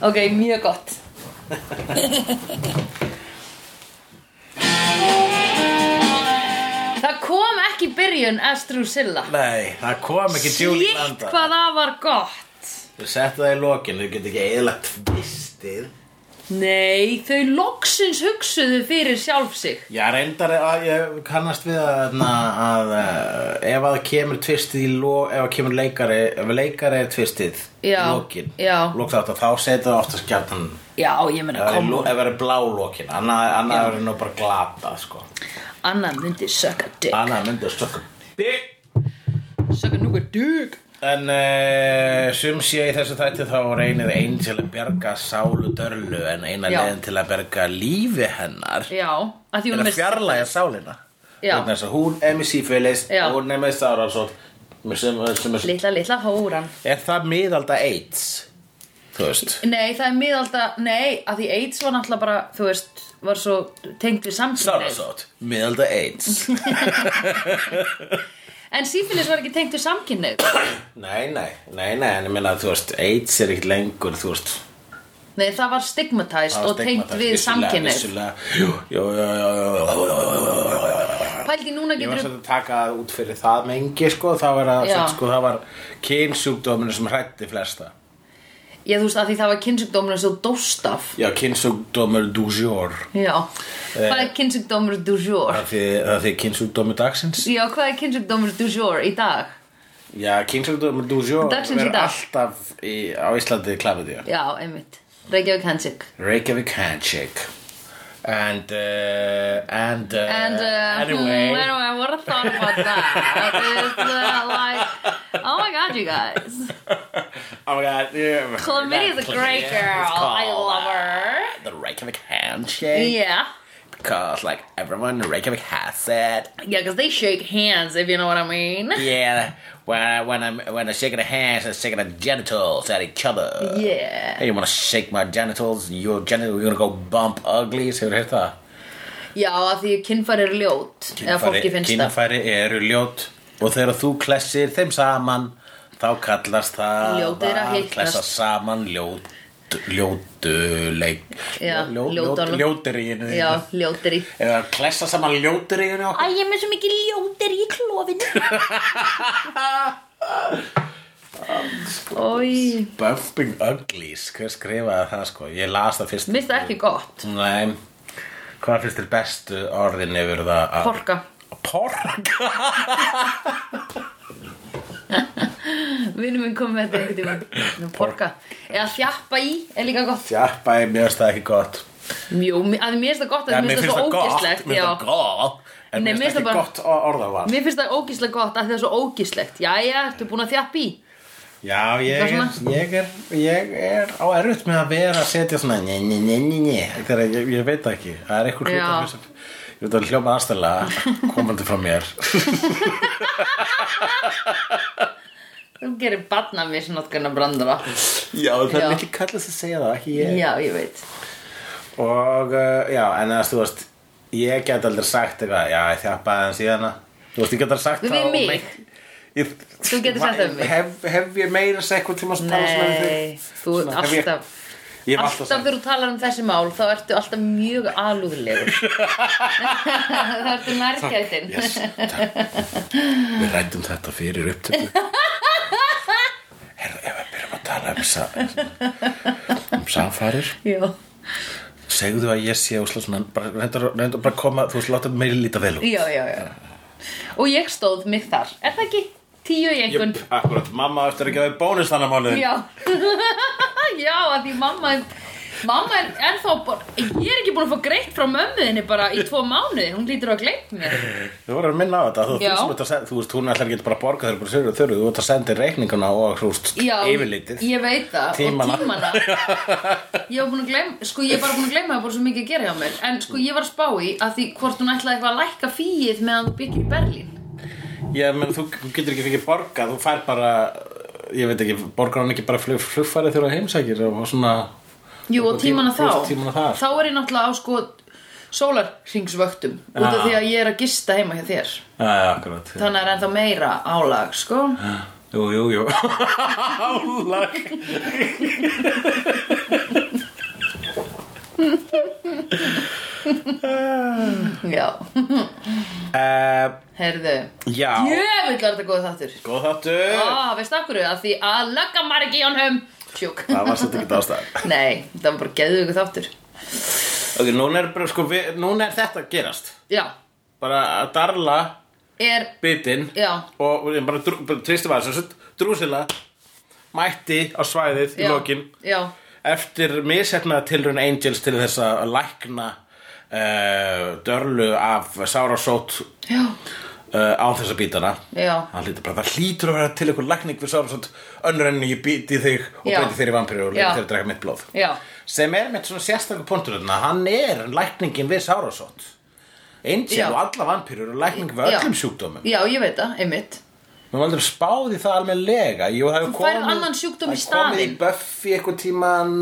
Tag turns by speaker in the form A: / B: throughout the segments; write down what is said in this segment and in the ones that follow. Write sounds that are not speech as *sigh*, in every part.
A: Ok, mjög gott *laughs* Það kom ekki byrjun Estrusilla
B: Nei, það kom ekki Julie
A: Sjíkt
B: Landa
A: hvað það var gott
B: Þau settu það í lokin, þau getur ekki eðlagt tvistið
A: Nei, þau loksins hugsuðu fyrir sjálf sig
B: Já, reyndar að ég kannast við að, hérna, að eh, ef að það kemur tvistið í lo, ef að kemur leikari, ef leikari er tvistið í
A: Já,
B: lokin,
A: já.
B: loksáttu, þá setur það oftast gjarnan
A: Já, ég meina
B: Ef
A: kom
B: það er blá lokin, annað annað verður nú bara glata, sko
A: Anna myndi sökka dick
B: Annað myndi að stökkum Dick
A: Sökka núka dick
B: En uh, sum sé í þessu þætti þá reynir einn til að berga sálu dörlu en eina
A: Já.
B: leiðin til að berga lífi hennar
A: Já, að því
B: er
A: hún
B: að
A: er
B: fjarlæga sálina.
A: Já.
B: Vegna þess að Hún er með sífélis
A: Já.
B: og hún er með sáralsótt sem, sem er,
A: Lilla, lilla hóran
B: er það miðalda AIDS? Þú veist
A: Nei, það er miðalda, nei, að því AIDS var náttúrulega bara, þú veist, var svo tengt við samkynneið.
B: Sáralsótt, miðalda AIDS
A: En sífilis var ekki tengt við samkynneið.
B: Nei, nei, nei, nei, en ég meina þú veist AIDS er ekkert lengur, þú veist
A: Nei, það var stigmatized og tengt
B: stigmatist,
A: við
B: vissulega,
A: samkynneið.
B: vissulega. Jú, jú, jú, jú, jú, jú, jú, jú, jú, jú, jú, jú.
A: Pældi núna
B: Ég var
A: getur
B: svolítið að taka það út fyrir það mengi sko, það var, að,
A: Já.
B: sko, það var kynsjúkdóminu sem hrætti flesta.
A: já þú veist, að því það var kynnsugdómurinn svo dóst af.
B: Já, kynsjúkdómur du jour.
A: Já, hvað er kynnsugdómur du jour?
B: Það því, það því kynsjúkdómur dagsins?
A: Já, hvað er kynnsugdómur du jour í dag?
B: Já, kynsjúkdómur du jour
A: Dagsins í
B: verður
A: dag.
B: alltaf í, á Íslandi klafið því.
A: Já, einmitt. Reykjavík hansik.
B: Reykjavík handshake. And, uh, and, uh,
A: And uh,
B: anyway.
A: hmm, anyway, what I thought about that is uh, like, oh my god, you guys.
B: oh my god. Yeah.
A: Chlamydia is a great girl. I love her.
B: The Reykjavik handshake.
A: Yeah.
B: Because, like, everyone in Reykjavik has it.
A: Yeah, because they shake hands, if you know what I mean.
B: Yeah, when I, when I'm when I shake the hands, I shake the genitals at each other.
A: Yeah.
B: Hey, you wanna shake my genitals? Your genitals, you're gonna go bump ugly. Hefur þetta?
A: Já, að því kynfæri er ljót. eða fólki finnst það.
B: kynfæri eru ljót og þegar þú klessir þeim saman, þá kallast það
A: Ljót er að hittast.
B: klessa saman ljót ljótuleik
A: Já,
B: ljót,
A: ljótunum.
B: ljóturíinu
A: Já, ljótir í.
B: eða klessa saman ljóturíinu
A: Æ, ég er með svo mikið ljótir í *laughs* klófinu. Ói,
B: bumping uglies, hver skrifaði það sko ég las það fyrst
A: mér finnst það ekki gott.
B: Nei, hvað finnst þér bestu orðin yfir það að...
A: Porka.
B: Porka?
A: Vinnum minn kom með þetta einhvern *laughs* tímann. Nú, Porka. Eða þjappa í er líka gott.
B: Sjappa, ég mjögst það ekki gott.
A: Mjó, mi- að því mér finnst það gott að
B: Já,
A: mér finnst það svo ógislegt.
B: mér finnst það gott, en
A: Nei,
B: mér
A: mér
B: finnst
A: finnst
B: ekki
A: það bara-
B: gott orðaval.
A: Mér finnst það ógíslega gott að það er svo ógíslegt Jæja, ertu búin að þjappa í?
B: Já, ég
A: Hvað
B: er,
A: svona?
B: ég, er, ég er á erfitt með að vera að setja svona nj, nj, nj, nj, nj, þegar ég, ég veit það ekki. Það er eitthvað
A: Já.
B: hlutum sem, ég veit að hljóma aðstæðlega komandi frá mér.
A: Þú gerir barna mér sem notkunna brandara
B: Já, það
A: Já.
B: er ekki kallast að segja það, ekki ég.
A: Já, ég veit
B: Og uh, já, en að þú veist Ég get aldrei sagt eitthvað Já, ég þjappaði hann síðana Þú veist, ég get aldrei sagt
A: Við
B: það og
A: mig.
B: meint- Ég,
A: Þú getur sagt það um mig.
B: hef, hef ég meira segja eitthvað tíma
A: Nei, þú ert alltaf
B: Ég hef
A: Alltaf
B: alltaf sagt
A: þegar þú talar um þessi mál þá ertu alltaf mjög
B: *laughs*
A: alúðlegur Það ertu nærgætin
B: yes, takk. Við rættum þetta fyrir upptöku Herðu, ef við byrjum að tala um, sa, um samfarir
A: Já,
B: Segðu að ég sé úsla svona bara, reyndu, reyndu bara að koma, þú veist, láta mig líta vel út
A: já, já, já Og ég stóð mig þar, er það ekki? Tíu í einhvern
B: Jöp, akkurat, mamma á eftir að gefa þér bónus þannig mánuðin
A: Já *laughs* Já, að því mamma er Mamma er ennþá bara Ég er ekki búin að fá greitt frá mömmuðinni bara í tvo mánuði Hún lítur að gleymt mér
B: Þú voru að minna á þetta, þú, þú,
A: Já.
B: sem ert að senda, þú veist, hún ætlar ekki bara að borga þeir bara sörðu og þörðu, þú ert að senda þér reikninguna og hrúst
A: Já,
B: yfirlitið.
A: ég veit það
B: Tímana.
A: og
B: *laughs*
A: tímana ég var búin að gleyma sko ég er bara búin að gleyma það er bara svo mikið að gera hjá mér en sko ég var að spá í að því hvort hún ætlaði eitthvað að lækka fíið meðan þú byggir í Berlín
B: Ég menn, þú þú getur ekki fengið borga, þú fær bara, ég veit ekki, borgar hann ekki bara flug, flugfæri þegar þú heimsækir og svona...
A: Jú og
B: Og tí-
A: tímana þá
B: og tímana þar.
A: þá er ég náttúrulega á sko sólarhringsvöktum út af
B: Ah.
A: því að ég er að gista heima hjá þér
B: Já, já, akkurat. já.
A: þannig er ennþá meira álag sko
B: Ah. *laughs* Jú, jú, jú. Álag.
A: Já,
B: uh,
A: heyrðu
B: Já,
A: Jöfull var þetta góð þáttur
B: góð þáttur
A: Á, veist af hverju, að því að lögga maður ekki í honum Sjúk
B: Það var svolítið ekki ástæðan
A: Nei, það var bara geðu ykkur þáttur
B: Ok, núna er, bara, sko, við, núna er þetta að gerast
A: Já,
B: Bara að darla
A: er,
B: bitinn
A: já,
B: Og og bara, drú- bara tristum aðeins og svo Drúsila mætti á svæðið í
A: já
B: lokin
A: Já,
B: Eftir misefnaða tilrun Angels til þess að lækna uh, Dörlu af sárasót
A: já,
B: uh, á þessa bítana
A: Já.
B: hann hlýtur bara, það hlýtur að vera til einhver lækning við sárum svona önnur enn ég býti þig og
A: Já.
B: breyti þér í vampíru og leiði
A: Já.
B: þér að drega mitt blóð
A: já
B: sem er með svona sérstakur punktur þarna, hann er lækningin við sárasótt Angel
A: Já.
B: og alla vampýrur og lækning við
A: Já.
B: öllum sjúkdómum
A: Já, ég veit það, einmitt
B: Mér var aldrei spáð í það almennilega Jú, það hefur
A: Þú færð
B: komið-
A: annan sjúkdóm í
B: Það hefur komið í
A: staðinn.
B: Buffy eitthvað tíman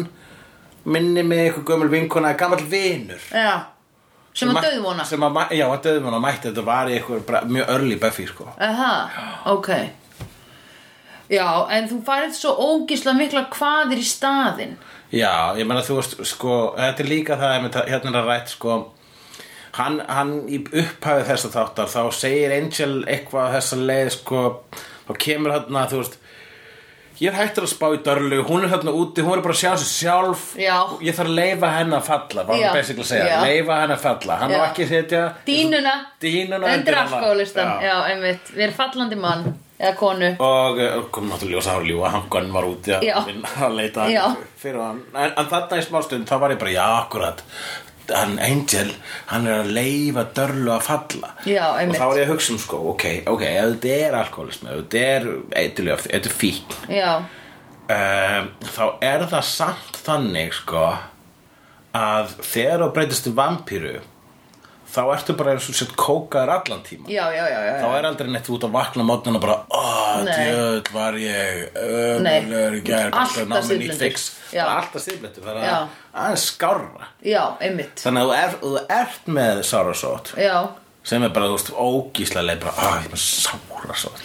B: Minni mig eitthvað gömul vinkona Gammal vinur
A: Já, sem að
B: mætt-
A: döðum hana
B: sem að mæ- Já, að döðum hana mætti Þetta var í eitthvað bra- mjög örli Buffy sko.
A: Aha, ok Já, en þú færið svo ógisla mikla hvaðir í staðinn
B: Já, ég meina þú veist sko, þetta er líka það einmitt að- hérna er að rætt sko hann, hann í upphæðu þessa þáttar þá segir Angel eitthvað á þessa leið sko, þá kemur hann að þú veist ég er hættur að spá í Dörlu hún er hérna úti, hún er bara að sjá sig sjálf
A: Já.
B: ég þarf að leifa henni að falla var
A: Já.
B: hann basically að segja,
A: Já.
B: leifa henni að falla hann
A: Já.
B: á ekki að setja
A: Dínuna,
B: Dínuna undir
A: undir
B: hana.
A: alkoholistan
B: Já.
A: Já, einmitt, við erum fallandi mann eða konu
B: og eh, og kom náttúrulega ljósa að ljúa hann gunn var úti að
A: Já.
B: vinna að leita
A: Já.
B: fyrir hann en, en þarna í smá stund þá var ég bara já akkurat hann Angel hann er að leifa dörlu að falla
A: Já,
B: og
A: einmitt.
B: þá var ég að hugsa um sko ok, ok, ef þetta er alkoholismi ef þetta er eitthvað, ef þetta er fíkn
A: Já,
B: um, þá er það samt þannig sko að þegar þú breytist í vampíru þá ertu bara eins og sett kókaður allan tíma
A: já, já, já, já.
B: þá er aldrei neitt út að vakna mótnuna bara oh,
A: Nei.
B: djöð var ég ömulegur í gær
A: Alltaf
B: bara náði mér nýtt
A: stíflendur.
B: fix."
A: Já.
B: Bara alltaf stiflendur það er
A: Já.
B: að- aðeins skárra
A: Já, einmitt
B: þannig að þú, er, þú ert með sárasót
A: Já,
B: sem er bara þú veist ógíslega leið bara ah, ég er með sárasót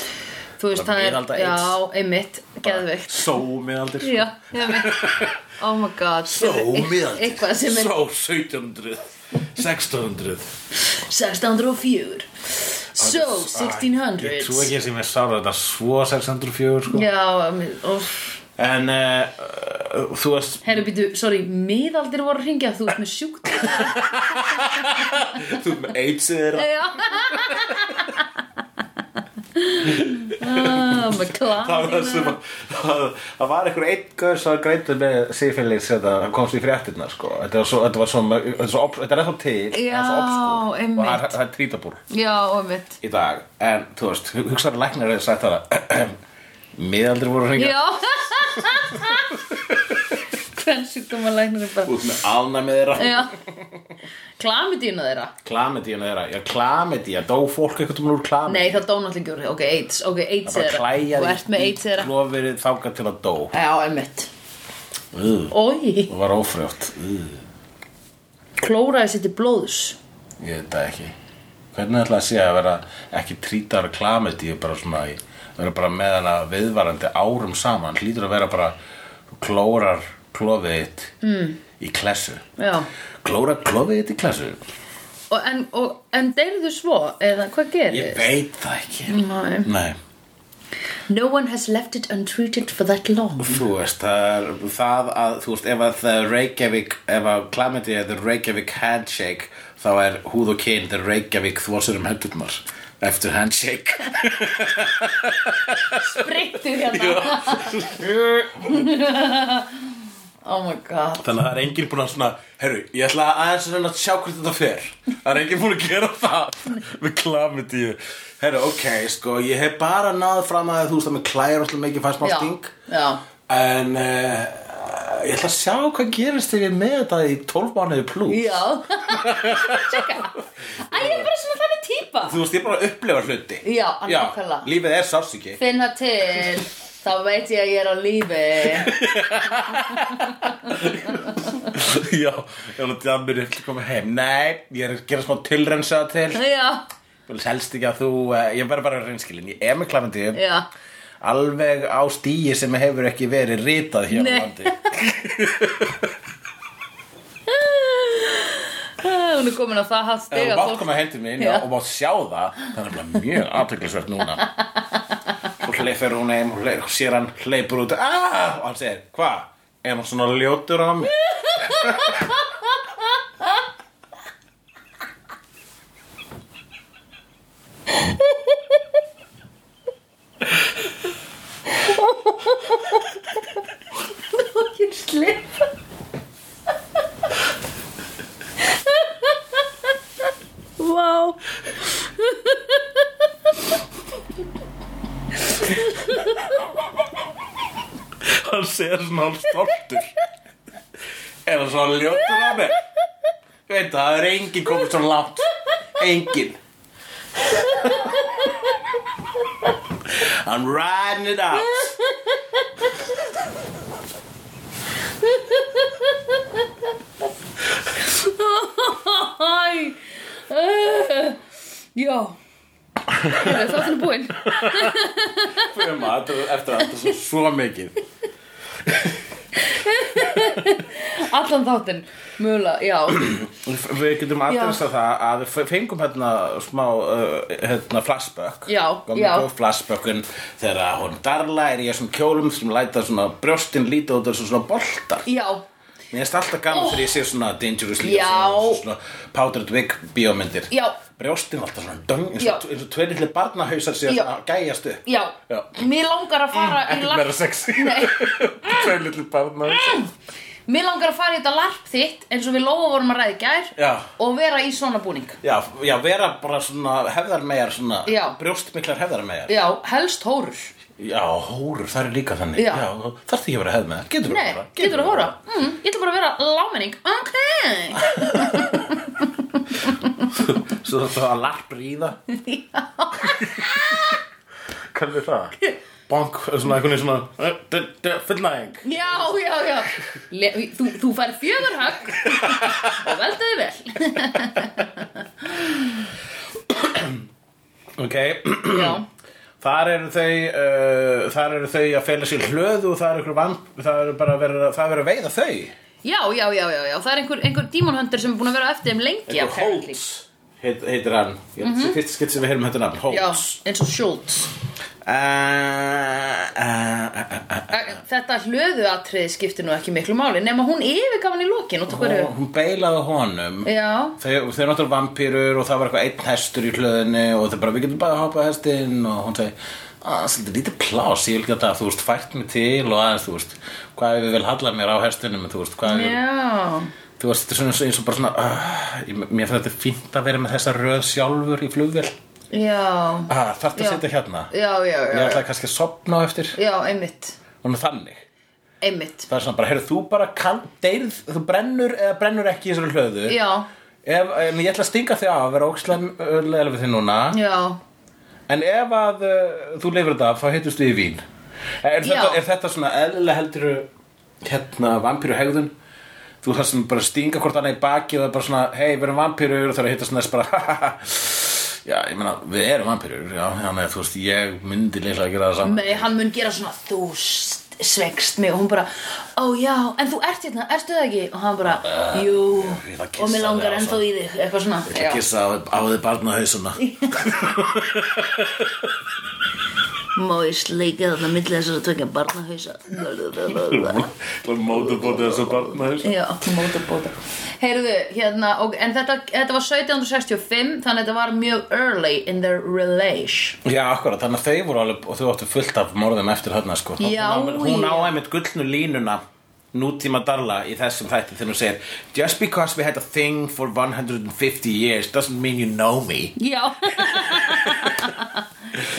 A: þú veist, það
B: Bara miðalda
A: er Já, einmitt, geðveikt
B: sómiðaldir
A: Já, einmitt Oh my
B: *laughs*
A: god
B: sómiðaldir
A: Eitthvað sem er
B: só 1700 1600
A: 1604 So,
B: ég
A: 1600
B: trú ekki að sem ég sára þetta svo 604 sko.
A: Já, einmitt, óff
B: en uh, uh, þú veist
A: Herru, býtu, sorry, miðaldir voru að ringja Þú ert með sjúkt
B: *laughs* þú ert með AIDS eða
A: Oh my
B: það var,
A: god
B: sem, að- það, það var einhver einn gauð sem greitur með sífélis þetta komst í fréttirna sko. þetta, var svo, þetta, var svo, þetta, er svo, obs- þetta er ennþá til það er svo
A: Já,
B: obskúr.
A: einmitt.
B: og það, er- það er trítabúr
A: Já, einmitt
B: í dag en þú veist, hugsaður læknar eða sagt það *clears throat* miðaldri voru að hringja
A: Já *laughs* Hvern sjúkdómalæknir er bara
B: út með alnæmið þeirra
A: *laughs* Já Klamidíuna þeirra
B: klamidíana þeirra, já klamidía dó fólk eitthvað um úr klamidía
A: Nei, það dónallingur, ok, AIDS Ok, AIDS
B: bara
A: þeirra
B: klæjaði
A: Þú ert með AIDS þeirra
B: glofirið þáka til að dó
A: Já, einmitt
B: Ú,
A: Ói,
B: það var ófrjótt Ú,
A: klóraði sér til blóðs
B: Ég veit það ekki Hvernig ætla að sé að vera ekki trítar klamedíu bara svona í vera bara með hana viðvarandi árum saman hlýtur að vera bara þú klórar klofið þitt mm. í klessu
A: Já
B: Klórar klofið þitt í klessu?
A: Og, en, og, en deyrðu svo, eða hvað
B: Ég
A: gerir?
B: veit það ekki
A: Nei.
B: Nei,
A: No one has left it untreated for that long
B: þú veist það, er, það að, þú veist, ef að the Reykjavík, ef að klamedíu er the Reykjavík handshake þá er húð og kyn the Reykjavík þvosur um hendurnar eftir handshake
A: Sprittuð hérna *laughs* Oh my god
B: Þannig að það er enginn búinn að svona Herru, ég ætla aðeins að reyna að sjá hvernig þetta fer Það er enginn búinn að gera það Með klamidíu Herru, ok, sko, ég hef bara náð fram að þú veist að með klæjar alltaf mikið fannst
A: Já,
B: maður sting
A: já,
B: *laughs* En uh, ég ætla að sjá hvað gerist þegar ég er með þetta í 12 mánuði plú
A: já Tjekka Æ, ég er bara svona þannig típa
B: Þú veist, ég er bara að upplifa hluti
A: Já, nákvæmlega.
B: lífið
A: *laughs*
B: er sásiki
A: Finn það til Þá veit ég að ég er á lífi
B: Já, ég er að djamur eftir að koma heim Nei, ég er að gera smá tilrensa til
A: Já,
B: Þú helst ekki að þú, eh, ég verð bara að reynskilin, ég er með klamendíu
A: já
B: alveg á stíi sem hefur ekki verið ritað hér á
A: Nei.
B: landi
A: hún er komin á það hatt
B: Ef
A: steg
B: þú
A: að
B: mátt koma hendur minni
A: Já.
B: og mátt sjá það Það er bara mjög aðtöklisvert núna Hún hleyfur hún heim Hún hleyfur, sér hann hleypur út ah! Og hann segir, hva? Er hann svona ljótur á mig?
A: Ég slepp Vá
B: *laughs* Hann segir svona hálf stoltur Er hann svona ljótur á mig? Ég Veit það, það er enginn komið svona langt Enginn *laughs* I'm riding it out
A: Æ uh, Já Heyrðu, Þáttin er búinn
B: um að þetta- eftir að þetta svo, svo mikið
A: Allan þáttin Mögulega, já
B: við getum aðdæmst að það að við fengum hérna smá uh, hérna flashback
A: Já,
B: Gömlu
A: já.
B: góð flashbackun þegar hún Darla er í þessum kjólum sem læta svona brjóstin líta út þessu svona boltar
A: Já
B: mér finnst alltaf gaman þegar ég sé svona Dangerous
A: Oh.
B: Leo
A: Já.
B: svona, svona Powdered Wig bíómyndir
A: Já.
B: brjóstin alltaf svona döng eins
A: Já.
B: og, eins og tveir litli barnahausar sér
A: Já.
B: svona að gæjast upp
A: Já,
B: Já.
A: mér langar að fara í
B: ekkert meira
A: larp
B: sexy *laughs*
A: Nei.
B: tveir litli barnahausar
A: Mér langar að fara í þetta larp þitt eins og við Lóa vorum að ræði gær
B: Já.
A: og vera í svona búning
B: Já, já, vera bara svona hefðarmegar svona,
A: Já.
B: brjóstmiklar hefðarmegar
A: Já, helst hórur
B: Já, hórur, það er líka þannig
A: Já.
B: þarf ekki að vera hefðmegar, getur
A: Nei, getur að hóra mm, Ég ætla bara að vera lámenning *laughs* Ok
B: Svo það að larp
A: *laughs*
B: ríða Hvað er það? Bonk, svona einhvern veginn svona "Eh, d- d- fullnæging
A: Já, já, já Le, Þú, þú fær fjögur högg og veltaði vel
B: Ok,
A: Já,
B: þar eru þau uh, þar eru þau að fela sér hlöðu og það eru ykkur vand það eru bara að vera, það er verið að veiða þau
A: já, já, já, já, já. Það er einhver, einhver dímonhundur sem er búin að vera á eftir þeim lengi apparently.
B: heit, heitir hann Ég held að sé fyrst skitt sem við heyrum þetta nafn,
A: Mhm. Já,
B: Holtz
A: eins og Schultz
B: Eh, Uh,
A: Æ, Þetta hlöðuatriði skiptir nú ekki miklu máli nema hún yfirgaf hann í lokin og það hverju
B: eh, hún beilaði honum
A: Já,
B: Þau, þau eru náttúrulega vampýrur og það var eitthvað einn hestur í hlöðinni og þau bara, við getum bara að hoppa á hestinn og hún segi, að það er svolítið lítið plás ég vil geta að þú veist, fært mig til og aðeins, þú veist, hvað ef ég vil halla mér á hestinum þú veist, hvað ef ég,
A: já
B: þú veist, þetta er svona eins og- eins og bara svona uh, ég, mér finnst þetta fínt að vera með þessa röð sjálfur í flugvél
A: Já,
B: ah, þarftu
A: Já.
B: að setja hérna
A: já, já,
B: ég
A: já, já.
B: ætlaði kannski að sopna á eftir
A: já einmitt
B: hún er þannig
A: Einmitt
B: það er svona bara, heyrðu, þú bara kann, deyrð, þú brennur eða brennur ekki í þessari hlöðu
A: Já,
B: Ef, eh, en ég ætla að stinga þig af, vera ókslega leðlega við þig núna
A: já
B: En ef að uh, þú lifir þetta, af, þá hittust við í vín Eh, Er þetta,
A: Já.
B: er þetta svona eðlilega heldur eh, hérna vampíru hegðun? Þú þarf sem bara að stinga hvort annað í baki og það er bara svona, hei, við erum vampírur og það er að hitta svona þess bara *laughs* Já, ég meina, við erum vampírur, já, þannig að þú veist, ég myndi leyslega að gera það saman
A: Nei, hann mun gera svona Þú st- svengst mig Og hún bara, ó já, en þú ert hérna, ertu það ekki? Og hann bara, jú
B: ég ætla að
A: Og
B: kyssa
A: mér langar
B: þig,
A: ennþá í þig, eitthvað svona
B: Ég ætla að
A: Já.
B: kissa á, á þið
A: *laughs*
B: barna hausuna
A: Má ég sleika þarna milli þessar að tvekja barnahausa
B: Mótu bótið þessu barna hausa
A: Já, móta bóta Heyrðu, hérna, og, en þetta, þetta var 1765 Þannig að þetta var mjög early in their relation
B: Já, akkurat, þannig að þau voru alveg og þau áttu fullt af morðum eftir þarna sko. Þá-
A: Já,
B: hún, á- hún á
A: já.
B: einmitt gullnu línuna nútíma darla í þessum þætti þegar hún segir Just because we had a thing for 150 years doesn't mean you know me
A: *laughs* Já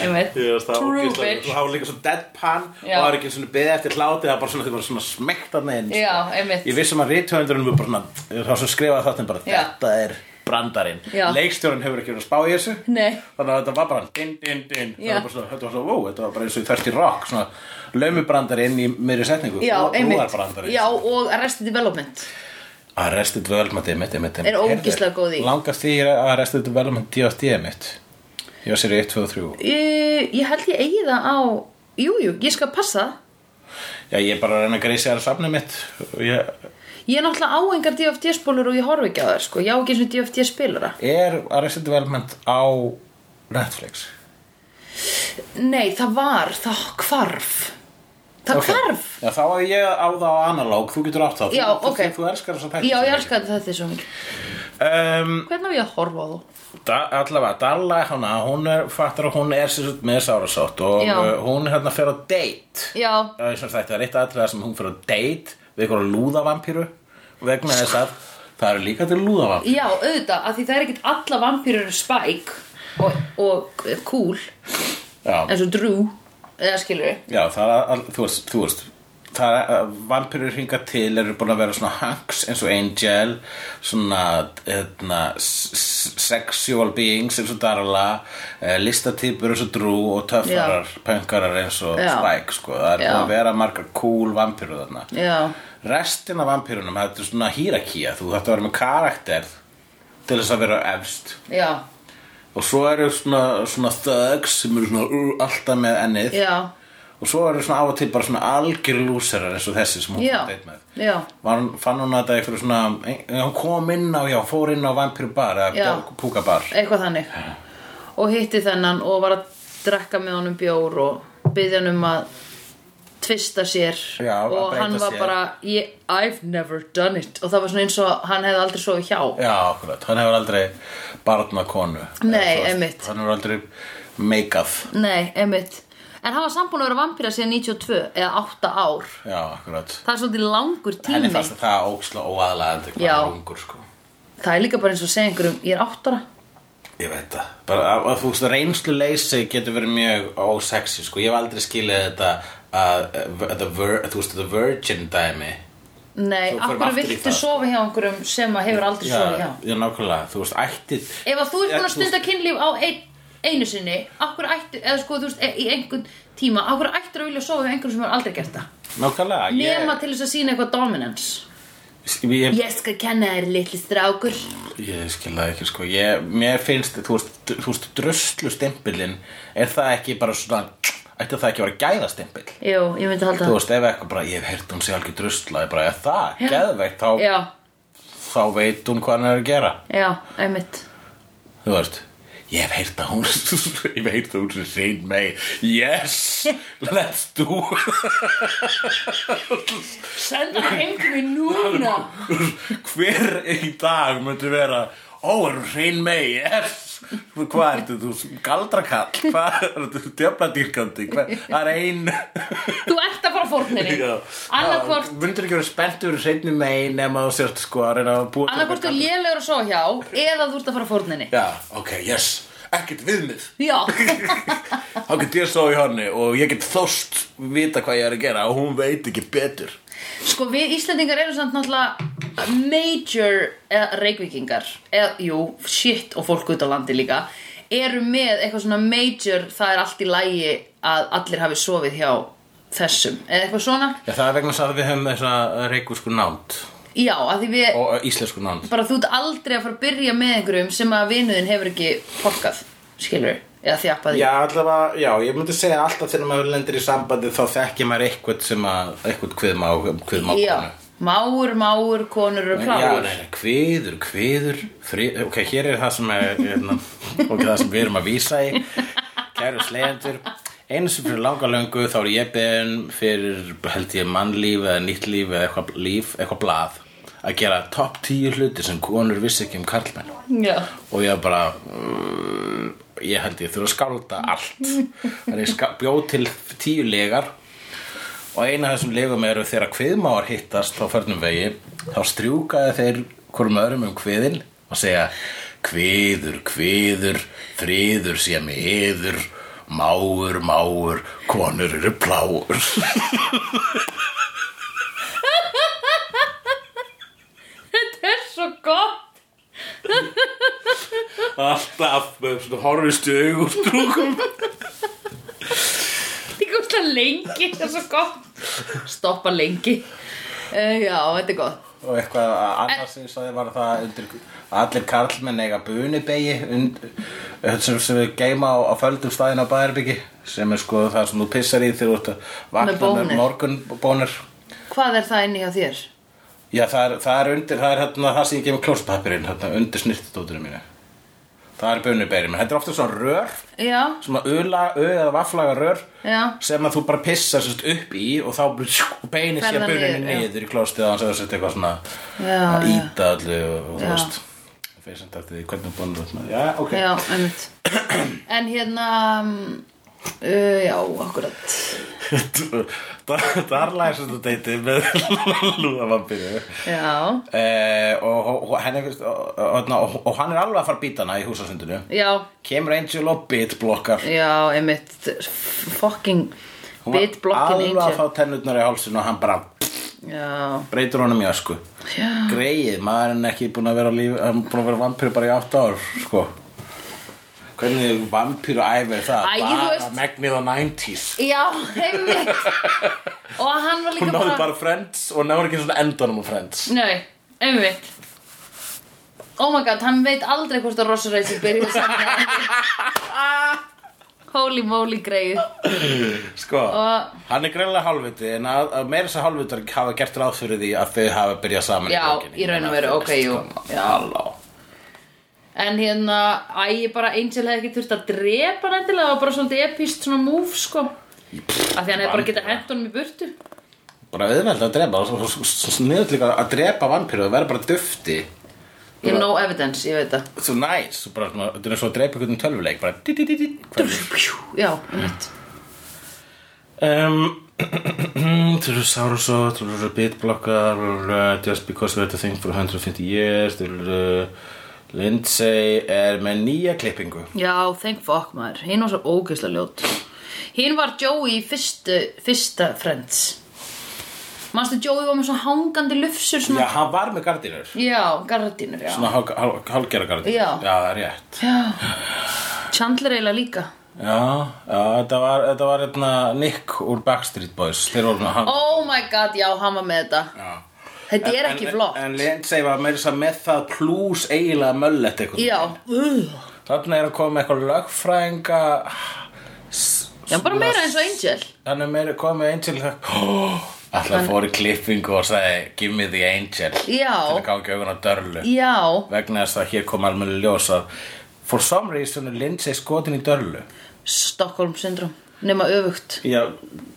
A: Einmitt True bitch
B: Það var líka svo deadpan
A: Já.
B: og það var ekki svona beðið eftir hláti það var bara svona, þau voru svona smekkt að neðin
A: Já, einmitt.
B: sko. Ég vissum að rithöfundurinn var bara svona, þá sem skrifaði þáttin bara
A: Já.
B: þetta er brandarinn
A: Já.
B: Leikstjórinn hefur ekki verið að spá í þessu
A: Nei
B: þannig að þetta var bara din, din, din.
A: Já.
B: Það var bara svona, þetta var svona, ó, þetta var bara eins og í 30 rock svona laumubrandari inn í meiri setningu
A: Já, einmitt
B: brúðarbrandari
A: Já, og Arrested Development
B: Arrested Development er mitt, er mitt
A: Er ógeðslega góð í.
B: langast því að Arrested Development D.O.D. er mitt ég var sér í 1, 2 og 3
A: ég, ég held ég eigi það á Jújú, jú, ég skal passa það.
B: já, ég er bara að reyna að greisa þér að safna mitt ég,
A: Ég er náttúrulega áengar DFT-spólur og ég horfi ekki á þær, sko. Ég á ekki eins og DFT-spilara.
B: Er Arrested Development á Netflix?
A: Nei, það var, það hvarf. Það
B: Ok.
A: hvarf.
B: Já, þá er ég á það á analóg, þú getur átt það
A: Já,
B: þú,
A: ok.
B: þú, þú elskar þess að tækja
A: Já, ég elskaði þetta svo mikið.
B: um,
A: Hvernig á ég að horfa á þú?
B: da, Allavega, Dalla, hana, hún er, fattar að hún er sér út með sárasótt og
A: Já.
B: uh, hún hérna fer á date
A: Já,
B: Það er sem sagt, það er eitt aðlega sem hún fer á date við ykkur lúðavampíru vegna þess að það eru líka til lúðavampíru
A: já, auðvitað, af því það er ekkert alla vampýrur spæk og, og cool,
B: Já,
A: eins og Drew, eða skilur við.
B: Já, það er all, þú veist, þú veist það er, vampirur hinga til eru búin að vera svona hunks eins og angel svona hérna, s- s- sexual beings eins og Darla eh, listatýpur eins og Drew og töffarar, pönkarar eins og
A: Já.
B: Spike sko, það er
A: Já.
B: búin að vera margar cool vampirur þarna
A: Já,
B: restin af vampirunum, þetta er svona hýrakía þú þetta vera með karakter til þess að vera efst
A: já,
B: og svo eru svona, svona thugs sem eru svona uh, alltaf með ennið
A: já,
B: og svo eru svona á og til bara svona algjör lúserar eins og þessi sem hún
A: já,
B: fór deitt með
A: já,
B: Var hún, fann hún að þetta eitthvað svona ein- hún kom inn á, já, fór inn á vampiru bar eða
A: Já.
B: púka bar
A: eitthvað þannig. Og hitti þennan og var að drekka með honum bjór og byggði hann um að tvista sér
B: Já, að
A: og
B: breyta
A: hann var
B: sér.
A: bara ég, I've never done it og það var svona eins og hann hefði aldrei sofið hjá
B: já, akkurat, hann hefur aldrei barna konu
A: Nei,
B: Eða þú veist,
A: einmitt.
B: hann hefur aldrei make-up
A: Nei, einmitt En hann var sambúin að vera vampýra síðan 92 eða 8 ár
B: já, akkurat
A: Það er svolítið langur
B: henni
A: tími
B: fannst það óksla óaðlega
A: Já.
B: hvað er ungur, sko
A: Það er líka bara eins og að segja einhverjum Ég er 8 ára
B: Ég veit það, bara að, að þú veist reynslu leysi getur verið mjög ósexy sko, ég hef aldrei skilið þetta að, að, að, að þú veist þetta virgin dæmi
A: Nei,
B: Svo förum
A: akkur
B: aftur í
A: viltu
B: það, sko.
A: sofa hjá einhverjum sem að hefur aldrei
B: Já,
A: sofið hjá
B: já, nákvæmlega, þú veist, ættið
A: Ef að þú ert búin
B: Já,
A: að
B: þú veist-
A: stunda kynlíf á ein, einu sinni Akkur ættu, eða sko þú veist, e- í einhvern tíma Akkur ættur að vilja sofa hjá einhverjum sem hefur aldrei gert það
B: Nákvæmlega,
A: Nema til þess að sína eitthvað dominance
B: ég, ég,
A: Ég skal kenna þér litli strákur
B: ég skil það ekki, sko ég, Mér finnst, þú veist, d- þú veist druslu stimpilinn Er það ekki bara svona, ætti það ekki að vera gæða stimpill
A: Jú, ég myndi halda
B: Þú
A: það
B: veist, ef eitthvað bara, ég hef heyrt hún sé algjör drusla Ég bara, er það,
A: Já.
B: geðveikt, þá,
A: Já,
B: þá veit hún hvað hann er að gera
A: já, einmitt
B: Þú veist Ég hef heyrt að hún, *laughs* ég hef heyrt að hún sem sein mei,
A: *laughs*
B: yes, let's do
A: Senda hann heim til mér núna
B: hver í dag myndi vera ó, er hún hrein mei, yes hvað ertu, þú galdrakall hvað ertu, þú djöfladýrkandi hvað það er ein
A: Þú ert að fara
B: *laughs*
A: fórninni Annarkvort
B: myndir ekki vera spenntur hreinni mei nema þú sért sko að reyna að búa
A: Annarkvort þú lélegur að sofa hjá Eða þú ert að fara fórninni
B: já, ok, yes, ekkert viðmið
A: Já
B: þá get ég svo í honni og ég get þóst vita hvað ég er að gera og hún veit ekki betur
A: Sko við Íslendingar erum samt náttúrulega Major eða reikvíkingar eða, Jú, shit og fólk út á landi líka Eru með eitthvað svona major Það er allt í lagi að allir hafi sofið hjá þessum Eða eitthvað svona
B: já, það er vegna þess að við höfum þessa reikusku nánd
A: Já, að því við
B: og íslensku nánd
A: Bara þú ert aldrei að fara að byrja með einhverjum Sem að vinuðin hefur ekki fólkað Skilur, eða þjappað í.
B: Já, allavega, já, ég myndi segja alltaf þegar maður lendir í sambandi þá þekkir maður eitthvað sem að, eitthvað kviðmá, kviðmá
A: Já, máur, máur, konur eru
B: Já,
A: kláður
B: nei, nei, kviður, kviður, frí, ok, hér er það sem, er, hérna, *laughs* ok, það sem við erum að vísa í, kæru slegjendur, einu sem fyrir langa löngu þá er ég beðin fyrir, held ég, mannlíf eða nýtt líf eða eitthvað líf, eitthvað blað, að gera topp tíu hluti sem konur vissi ekki um karlmenn
A: Já, *laughs*
B: og ég bara mm, ég held ég þurfa að skálda allt þannig ég ska- bjó til tíu legar og eina af þessum legum eru þegar kviðmáar hittast á förnum vegi þá strjúkaði þeir hvorum öðrum um kviðin og segja kviður, kviður, friður sé mig yður máur, máur, konur eru pláur
A: þetta er svo gott
B: alltaf með svona horfistu augustúkum
A: Þetta er gott að lengi, þetta er svo gott Stoppa lengi uh, Já, þetta er gott
B: og eitthvað annað sem ég sagði var það undir, allir karlmenn eiga bunibegi und, sem, sem við geima á, á földum staðin á bæðarbyggi sem er sko það sem þú pissar í þegar þú ert að vakna
A: Með bónir.
B: morgunbónir
A: Hvað er það inni hjá þér?
B: Já, það er, það er undir, það er hérna það sem ég gefur klóspapirinn, hérna undir snirtidótinu mínu. Það er bönubeirin, menn þetta er ofta svona rör,
A: Já,
B: svona öla, öð eða vaflaga rör
A: já
B: sem að þú bara pissar sérst upp í og þá sko, beinir sér
A: Ferðar
B: bönunni
A: niður, já.
B: niður í klóstið að hans eða sérst eitthvað svona
A: Já,
B: að
A: já.
B: íta allu og, og þú
A: Já.
B: veist, fyrir sem þetta því hvernig búin að þetta. Já, ok.
A: Já, einmitt En hérna um, uh, Já, akkurat
B: *laughs* Þar læsast þú deiti með *laughs* lúðavampiru
A: Já,
B: eh, og, og, og, henni finnst- og, og, og, og hann er alveg að fara að býta hana í húsasundinu
A: já,
B: kemur Angel og bitblokkar
A: já, einmitt Fucking
B: Hún var
A: Bitblokkin
B: alveg að
A: Angel
B: fá tennutnar í hálsinn og hann bara
A: Já,
B: breytir honum í ösku
A: já,
B: greið, maður er ekki búin að vera á lífi, hann er búin að vera vampíru bara í 8 ár sko hvernig vampíru æfir það
A: Æ, þú
B: bara
A: veist-
B: megnið á 90s
A: já einmitt Og hann var líka
B: hún náði
A: bara
B: bara Friends og náður ekki svona endanum á Friends
A: Nei, einmitt Oh my god, hann veit aldrei hvort að Rosa Reisir byrjuði að safna Holy moly greið
B: Sko,
A: Og-
B: hann er greinlega hálfviti en að, að meira þess að hálfvitar hafa gert ráð fyrir því að þau hafa byrjað saman
A: Já, í raun og veru, ok, jú Já.
B: Halló
A: En hérna, æ, ég bara Angel hefði ekki þurft að drepa hann endilega Það var bara svolítið epíst svona move, sko Af því hann hefði bara getað hent honum í burtu
B: Bara auðveld að drepa, svo- svo- svo sniðut líka að drepa vampíru og vera bara dufti
A: Ég hef no evidence, ég veit það
B: Svo næs, svo bara, svona- þetta er svo að drepa einhvern um tölvuleik bara dí, dí, dí, dí, hvernig
A: Já, einmitt
B: *clears throat* Um, Tölur Sáruso, tölur Bitblokkar, blablabla, Just Because We Had a Thing for 150 Years, tölur Lindsay er með nýja klippingu.
A: Já, thank fuck maður, hinn var svo ógeðslega ljót Hinn var Joey í fyrstu, fyrsta Friends Manstu Joey var með svo hangandi lufsur svona
B: Já, hann var með gardínur.
A: Já, gardínur, já.
B: Svona hálg- hálg- hálfgerðar gardínur.
A: Já.
B: Já, það er rétt.
A: Já, Chandler eiginlega líka.
B: Já, já þetta var, þetta var einna Nick úr Backstreet Boys. Þeir voru með hann.
A: Oh my god, já, hann var með þetta.
B: Já.
A: Þetta er ekki
B: en,
A: flott.
B: En Lindsay var meira þess að með það plús eiginlega möllett eitthvað.
A: já,
B: Þarna er að koma með eitthvað lögfræðinga...
A: já, bara meira eins og Angel.
B: Hann er meira komið Angel *gasps* þökk Alltaf hann... fór í klippingu og sagði Give me the Angel Til að
A: Já,
B: gangi augun á dörlu
A: já,
B: Vegna þess að hér kom alveg ljós að For some reason er Lindsay skotin í dörlu
A: Stockholm syndrom, nema öfugt.
B: Já,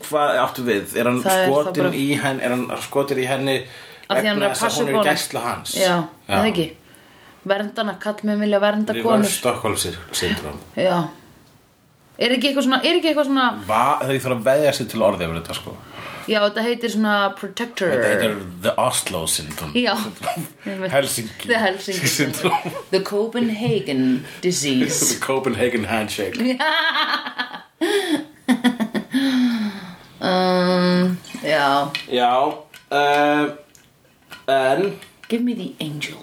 B: hvað áttu við? Er hann
A: Það er
B: skotin
A: þá bara-
B: í henni Er hann skotin í henni
A: Af því hann er að passa
B: hún
A: upp á
B: er
A: hana.
B: gæsla hans
A: Já, já. það ekki. Verndana, kall með vilja vernda
B: Rivar
A: konur.
B: Stockholm syndrom
A: Já. Er ekki eitthvað svona, er ekki eitthvað svona,
B: Va, Þau þarf að veðja sér til orðið yfir þetta sko
A: já, þetta heitir svona protector.
B: Þetta heitir The Oslo syndrom *laughs*
A: Já.
B: Helsinki
A: The Helsinki
B: *laughs*
A: *laughs*
B: syndrom
A: syndrom. The Copenhagen
B: *laughs*
A: disease.
B: The Copenhagen handshake
A: Um, já
B: Já uh, En
A: Give me the angel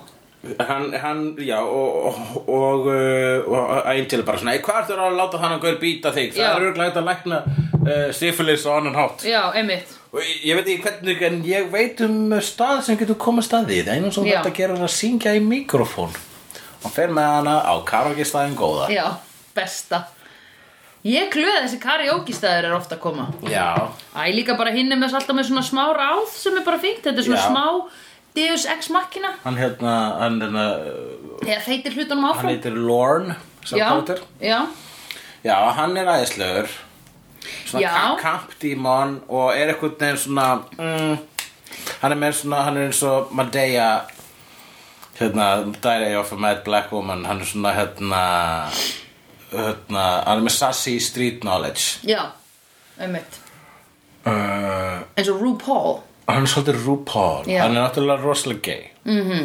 B: Hann, hann, já, og, og, og, uh, og Angel er bara svona "Ei, Hvað ertu að láta hann að gaur býta þig?
A: Já.
B: Það er örglega hægt að lækna uh, syfilis og annan hátt
A: Já, einmitt
B: Og ég, ég veit ekki hvernig, en ég veit um stað sem getur komið staði Það er einu sem
A: Já.
B: þetta gera er að syngja í mikrofón Og fer með hana á karaoke-staðin góða
A: Já, besta Ég klöði þessi karaoke-stæður er ofta að koma
B: Já,
A: Æ, líka bara hinn er með alltaf með svona smá ráð sem er bara fínt, þetta er svona
B: Já.
A: smá Deus Ex Machina
B: hann hérna, hann hérna, uh,
A: eða þeitir hlutunum
B: hann
A: áfram
B: heitir Lorne sem
A: Já,
B: karakter.
A: já,
B: Já, hann er æðislegur Svona
A: Já.
B: ka- kampdímon og er einhvern veginn svona mm, Hann er með svona, hann er eins og Madea Hérna, Diary of a Mad Black Woman Hann er svona, hérna Hérna, hann er með sassy street knowledge
A: já Einmitt,
B: uh,
A: eins og RuPaul
B: Hann er svolítið RuPaul
A: Já. Mhm.
B: Hann er náttúrulega rosalega gay mm -hmm.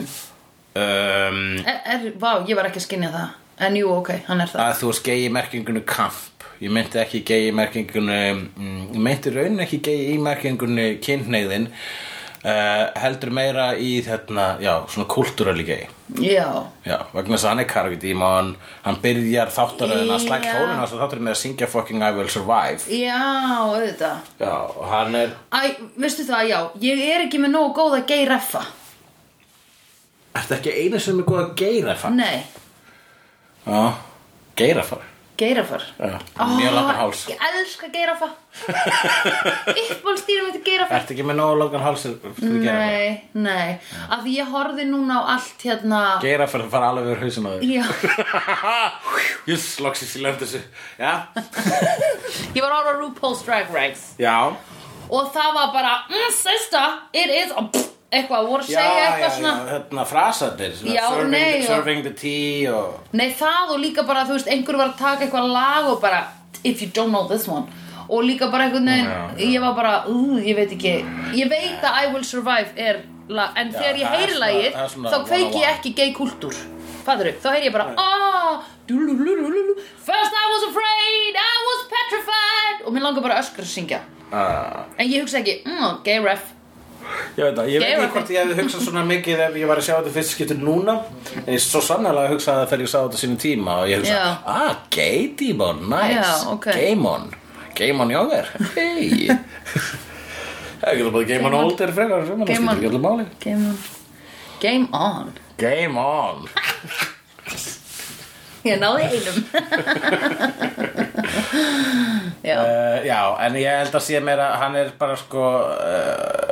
B: um,
A: er, er, Vá, ég var ekki að skinja það En jú, ok, hann er það
B: að þú varst gay í merkingunni kamp ég meinti ekki gay í merkingunni mm, ég meinti raunin ekki gay í merkingunni kynhneigðin uh, heldur meira í þarna já, svona kultúrali gay
A: Já,
B: já, vegna þess að hann er karvidímon hann byrjar þáttaröðin að slæk
A: Já.
B: tólin hans og þáttaröðin með að syngja fucking I will survive
A: já, auðvitað
B: já, og hann er
A: Æ, veistu það, já, ég er ekki með nógu góða gay reffa
B: ertu ekki einu sem er góð að geira fara?
A: Nei,
B: já, geira fara
A: Geirafar
B: Já, mjög langan háls.
A: Ég elska
B: *laughs*
A: geirafa Uppbólstýrum eftir geirafa
B: Ertu ekki með nógu langan háls fyrir geirafæri?
A: Nei, nei Af því ég horfði núna á allt hérna
B: Geirafæri fara alveg verið hausin á þig
A: Já,
B: *laughs* Júss, loksins ég lefndi þessu Já,
A: ég var að horfa á RuPaul's Drag Race
B: já
A: Og það var bara mm, Sista, it is og pff, Eitthvað, voru að
B: Já,
A: segja
B: já,
A: eitthvað svona
B: já, hérna frasarnir svona
A: Já,
B: serving,
A: nei, og-
B: serving the tea og
A: Nei, það og líka bara, þú veist, einhver var að taka eitthvað lag og bara If you don't know this one Og líka bara einhvern veginn,
B: Já, já.
A: ég var bara, ú, ég veit ekki Ég veit að I Will Survive er lag En þegar ég
B: það er
A: heyri
B: svona-
A: lagið,
B: það er svona
A: þá kveiki ég
B: 101.
A: ekki gay kultúr Fæður, þá heyri ég bara, ah, dúlúlúlúlú First I was afraid, I was petrified Og mér langar bara að öskra að syngja
B: uh,
A: En ég hugsa ekki, mm, gay ref
B: Ég veit það, ég veit
A: Geirafæri.
B: ekki hvort ég hefði hugsað svona mikið ef ég var að sjá þetta fyrst skiptir núna en ég svo sannlega hugsaði það þegar ég sá þetta sínum tíma og ég hugsaði,
A: Já.
B: ah, gay demon, nice,
A: Já, ok.
B: gaymon gaymon jóger, hei
A: *laughs*
B: Það getur bara gaymon older frekar, sem hann
A: Gaymon.
B: skiptir ekki allir máli
A: Game on Game on
B: Gaymon
A: Ég náði einum *laughs* Já
B: Uh, já, en ég held að sé mér að hann er bara sko uh,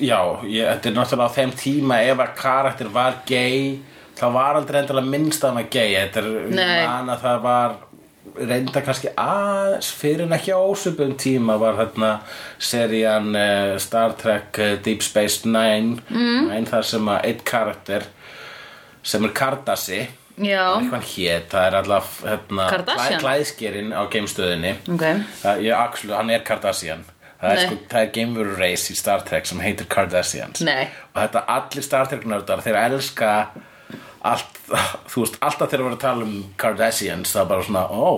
B: Já, ég, þetta er náttúrulega á þeim tíma ef að karakter var gay þá var aldrei endilega minnst að hann var gay Þetta er
A: Nei.
B: man að það var reynda kannski aðeins fyrir en ekki á ósöpum tíma var þarna serían uh, Star Trek uh, Deep Space Nine,
A: Mm.
B: Nine þar sem að eitt karakter sem er Kardassi
A: Já,
B: eitthvað hétt, það er alltaf hérna,
A: Kardashian?
B: klæðskerinn á geimstöðinni
A: ok
B: það, ég, actually, hann er Kardashian það
A: Nei.
B: er, sko, það er geimveru reis í Star Trek sem heitir Kardashians
A: Nei.
B: og þetta allir Star Trek nördar þeir elska allt, þú veist, alltaf þegar við erum að tala um Kardashians, það er bara svona ó,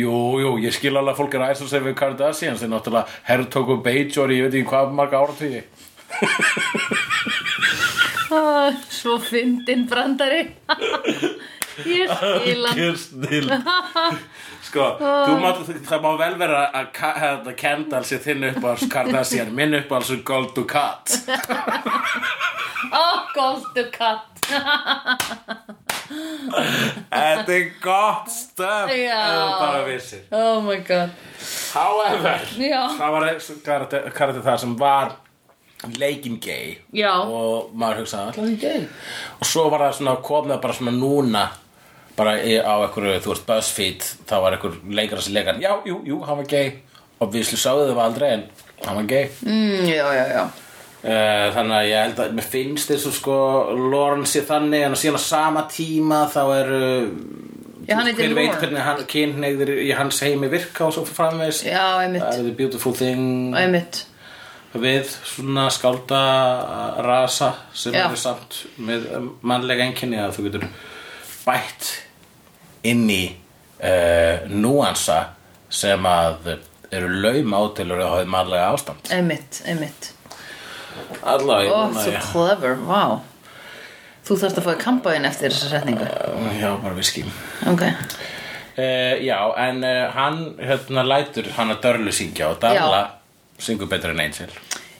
B: jú, jú, ég skil alveg að fólk er æsum sem við Kardashians, þeir náttúrulega herrtóku Bajor, í, ég veit ekki hvað marga áratugi
A: Ah, Svo fyndin brandari *laughs* Ég skil hann
B: Algjör
A: *laughs*
B: snill Sko, þú mátt, það má vel vera að Ka- hérna, Kendall sé þinn uppáhals Kardashian, minn uppáhals er Gold Ducat
A: Ó, goldu katt
B: Þetta er gott stöf
A: Já.
B: bara vissir
A: Oh my god
B: However,
A: Já.
B: það var karakter, karakter það sem var leikin gay
A: Já.
B: og maður hugsaði alltaf ekki gay og svo var það svona komið bara svona núna bara í, á einhverju, þú veist, BuzzFeed þá var einhver leikar sem leikan já, jú, jú, hann var gay og við slu sáðu það aldrei en hann var gay
A: mm, Já, já, já
B: Eh, þannig að ég held að mér finnst þessu sko Lawrence sé þannig en síðan á sama tíma þá eru
A: Já, hann heitir
B: hver veit
A: Lawrence.
B: hvernig hann, kynneigðir í hans heimi virka og svo framvegs
A: Já, einmitt
B: það er the beautiful thing
A: Einmitt
B: við svona skálda rasa sem
A: Já.
B: eru samt með mannlega einkenni að þú getur bætt inn í uh, núansa sem að eru laum átilur að hafa mannlega ástand
A: Einmitt, einmitt
B: allavega ég
A: Ó,
B: vona
A: so
B: að ég-
A: clever, wow Þú þarft að fá í kampaðin eftir þessa setningu
B: Já, bara við ským
A: Ok
B: uh, Já, en uh, hann hérna lætur hann að Dörlu syngja og Darla syngur betur en Angel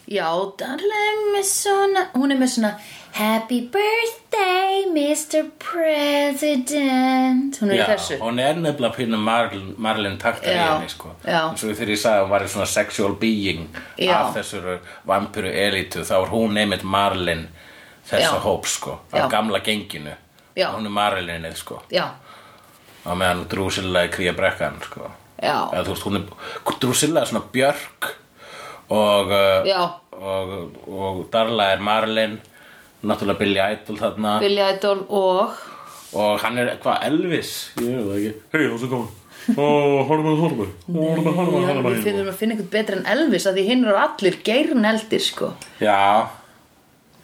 A: Já, darling, með svona Hún er með svona Happy birthday, Mr. President Hún er
B: Já,
A: í þessu
B: hún er nefnilega pínu Marlin, Marlin taktar í
A: Já,
B: henni sko.
A: já.
B: Svo þegar ég sagði að hún var í svona sexual being
A: Já.
B: af þessur vampiru elitu þá var hún nefnilega Marlin þessa
A: Já.
B: hóps sko, af
A: Já.
B: gamla genginu
A: Já.
B: Hún er Marlinið sko
A: Já,
B: á meðan Drusilla er kría brekkan sko
A: já
B: eða þú veist, hún er Drusilla er svona Björk og, uh,
A: Já.
B: og, og Darla er Marlin náttúrulega Billy Idol þarna
A: Billy Idol og
B: og hann er hvað, Elvis ég veit það ekki, hei, hvað sem komin og horfum við, horfum við horfum við, horfum við,
A: Já,
B: horfum
A: Við
B: við
A: finnum að finna eitthvað betra en Elvis að því hinn eru allir geirneldir sko
B: já,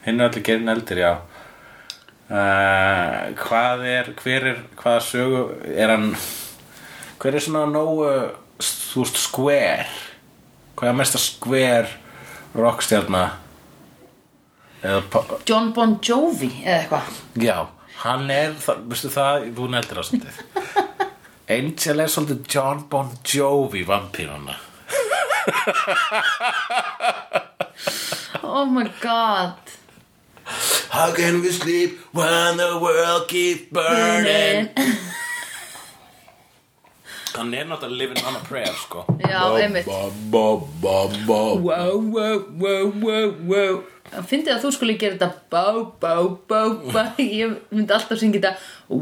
B: hinn er allir gerin eldir, já uh, hvað er hver er, hvaða sögu er hann hver er svona nógu þú veist, square hvað er mesta square rockstjarna eða po-
A: John Bon Jovi eða eitthvað
B: Já, hann er, það, veistu það, þú neldir það svolítið
C: *laughs*
B: Angel er svolítið John Bon Jovi vampírana
A: Oh my god
B: How can
A: Mm-hmm.
B: we sleep when the world keeps burning
A: Burning
B: hann er náttúrulega living on a prayer sko
A: Já, einmitt
C: einmitt
A: Wow, wow, wow, wow, wow Hann fyndi að þú skulle gera þetta Bá, bá, bá, bá Ég myndi alltaf syngja þetta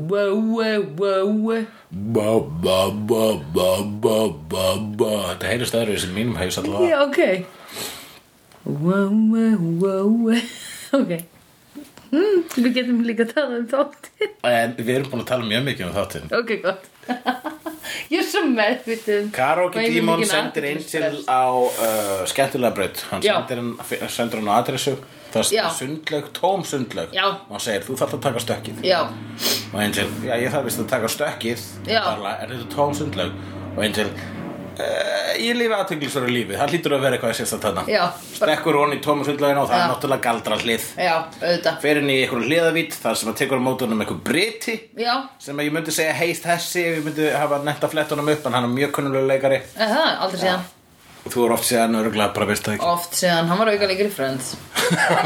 A: Wow, wow, wow, wow
C: Ba ba ba ba ba ba ba
B: þetta heyrist öðru sem mínum hefis alltaf
A: Já, ok Wow, wow, wow, wow Ok hmm, Við getum líka að tala um þáttir
B: en við erum búin að tala mjög mikið um þáttinn
A: Ok, gott *laughs* Ég er svo meðvitið um
B: Karóki Dímon sendir Angel á uh, skemmtilega braut hann
A: Já.
B: sendir hann, sendir hann á adressu það
A: Já.
B: er sundlaug, tóm sundlaug
A: Já.
B: og hann segir þú þarf að taka stökkið
A: Já,
B: og Angel, já ég þarf vist að taka stökkið
A: Já.
B: Darla, er þetta tóm sundlaug og Angel Uh, ég lifi aðteglisvara lífi, það hlýtur að vera eitthvað sérstætt þarna
A: Já.
B: Strekkur hon í tómu sundlaugina og
A: Já.
B: það er náttúrulega galdra hlið
A: já, auðvitað
B: Fer inn í eitthvað hliðavít, þar sem að tekur á mótunum eitthvað briti
A: Já,
B: sem að ég myndi segja heist hessi ef ég myndi hafa netta flett honum upp en hann er mjög kunnulega leikari
A: er það, aldrei síðan
B: og þú er oft séðan örgulega bara veist
A: *laughs*
B: það ekki
A: Oft síðan, hann var auka leikir í Friends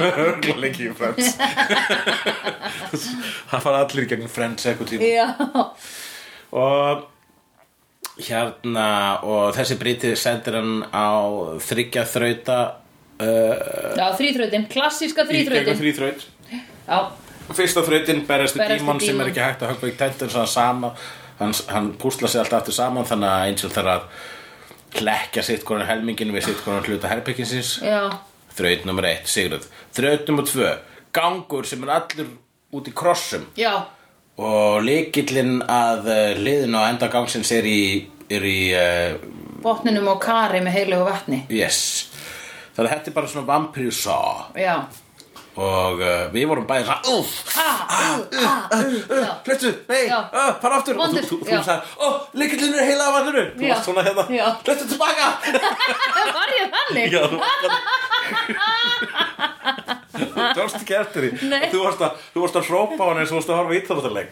B: örgulega leikir í Friends *laughs* það fara allir í gegnum Friends eitthvað tíma
A: Já,
B: og hérna og þessi brítið sendir hann á þryggja þrauta uh,
A: já þrýþrautin, klassíska
B: í gegnum
A: þrýþrautin
B: þrýþraut
A: Já,
B: fyrsta þrautin berjast við
A: Berjast við
B: dímon sem er
A: dímon.
B: ekki hægt að höggva í tættin svona sama, hann, hann púsla sig alltaf aftur saman þannig að Angel þarf að hlekkja sitt konar helmingin við sitt konar hluta herbygginsins
A: já,
B: þraut nummer eitt, Sigurð þraut nummer tvö, gangur sem er allur út í krossum
A: já
B: og lykillinn að eh, liðinu á enda gangsins er í, er í uh,
A: Botninum á kari með heilögu vatni
B: yes þannig að þetta er bara svona vampíru sá
A: Já, *laughs*
B: og uh, við vorum bæði svona úf,
A: ah, uh, ah, uh, já
B: Hlutu, nei,
A: Já.
B: uh, fara aftur Og þú,
A: Vondur,
B: þú, þú
A: já.
B: sagði, ó, leikillinn er heila af allinu Þú
A: Já.
B: varst svona hérna,
A: Já.
B: hlutu
A: *laughs*
B: tilbaka
A: Var ég þannig?
B: Já, þú varst *laughs* Þú varst ekki eftir því
A: Nei.
B: Þú varst að, þú varst að hrópa á hann eins og þú varst að horfa íþróttaleg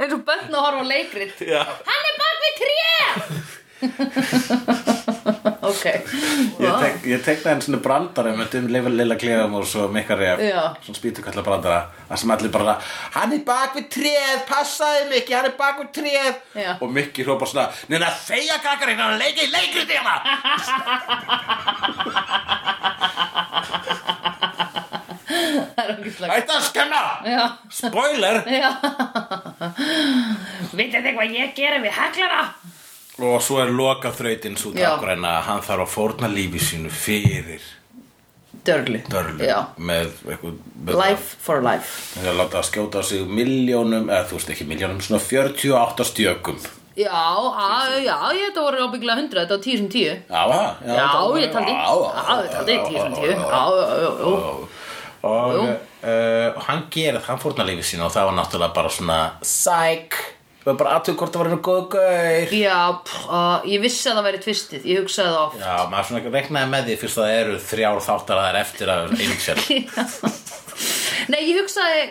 A: eins og börn að horfa á leikrit
B: Já,
A: Hann er bak við
B: *laughs*
A: tré Ok
B: ég, tek, ég tekna henni svona brandara með um leifur lilla klefum og svo mikkar ég
A: Já.
B: svona spýtukalla brandara að sem allir bara, hann er bak við tréð passaði mikki, hann er bak við tréð
A: Já.
B: og mikki hrópar svona neina þeia kakarinn, hann leikir í leikrið hérna
A: *laughs* Það er okkur slag
B: Ætti að skemma
A: Já,
B: Spoiler
A: já Vitið þið hvað ég gerir við heglara?
B: Og svo er loka þrautin svo
A: Já.
B: dagur en að hann þarf að fórna lífi sínu fyrir
A: Dörli
B: dörlu
A: Já,
B: með eitthvað með
A: life for life
B: Það er að láta að skjóta á sig miljónum eða þú veist ekki miljónum, svona 48 stjökum
A: Já, á, já, ég þetta voru ábyggla 100, þetta var 10 sem 10
B: Já, ha? já,
A: Já,
B: það-
A: ég taldi
B: Já,
A: Já, ég taldi 10 sem 10 Já, já, já, já
B: Og
A: Jú.
B: uh, hann gerði, hann fórna lífi sínu og það var náttúrulega bara svona Sæk Það var bara aðtöku hvort það var einu góð gaur
A: Já, pff, uh, ég vissi að það væri tvistið, ég hugsaði það oft.
B: Já, maður svona reknaði með því fyrst að það eru þrjár þáttaraðar eftir að Angel
A: *laughs* Nei, ég hugsaði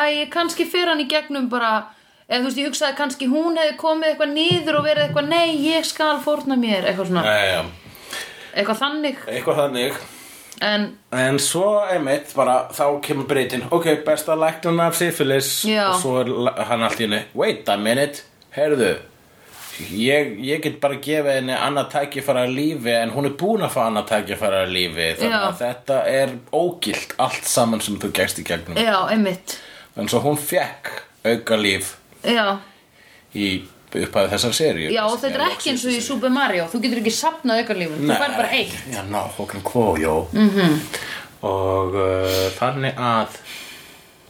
A: að ég kannski fer hann í gegnum bara, eða þú veist, ég hugsaði að kannski hún hefði komið eitthvað niður og verið eitthvað, nei, ég skal fórna mér, eitthvað svona,
B: Já, já,
A: eitthvað þannig,
B: eitthvað þannig
A: en
B: En svo einmitt bara þá kemur breytin Ok, besta læknan af syfilis
A: Já.
B: Og svo er la- hann allt í henni Wait a minute, heyrðu Ég, ég get bara gefið henni annað tækifæra að lífi en hún er búin að fá annað tækifæra að lífi þannig
A: Já.
B: að þetta er ógilt allt saman sem þú gegst í gegnum
A: já, einmitt,
B: en svo hún fekk auka líf
A: já,
B: í upphæðu þessar seríu
A: já, og þetta er ekki eins og í Super Mario, þú getur ekki sapnað aukarlífum, þú fær bara eitt. Mhm.
B: Já, ná, hóknum kvó, jó mm -hmm. Og uh, þannig að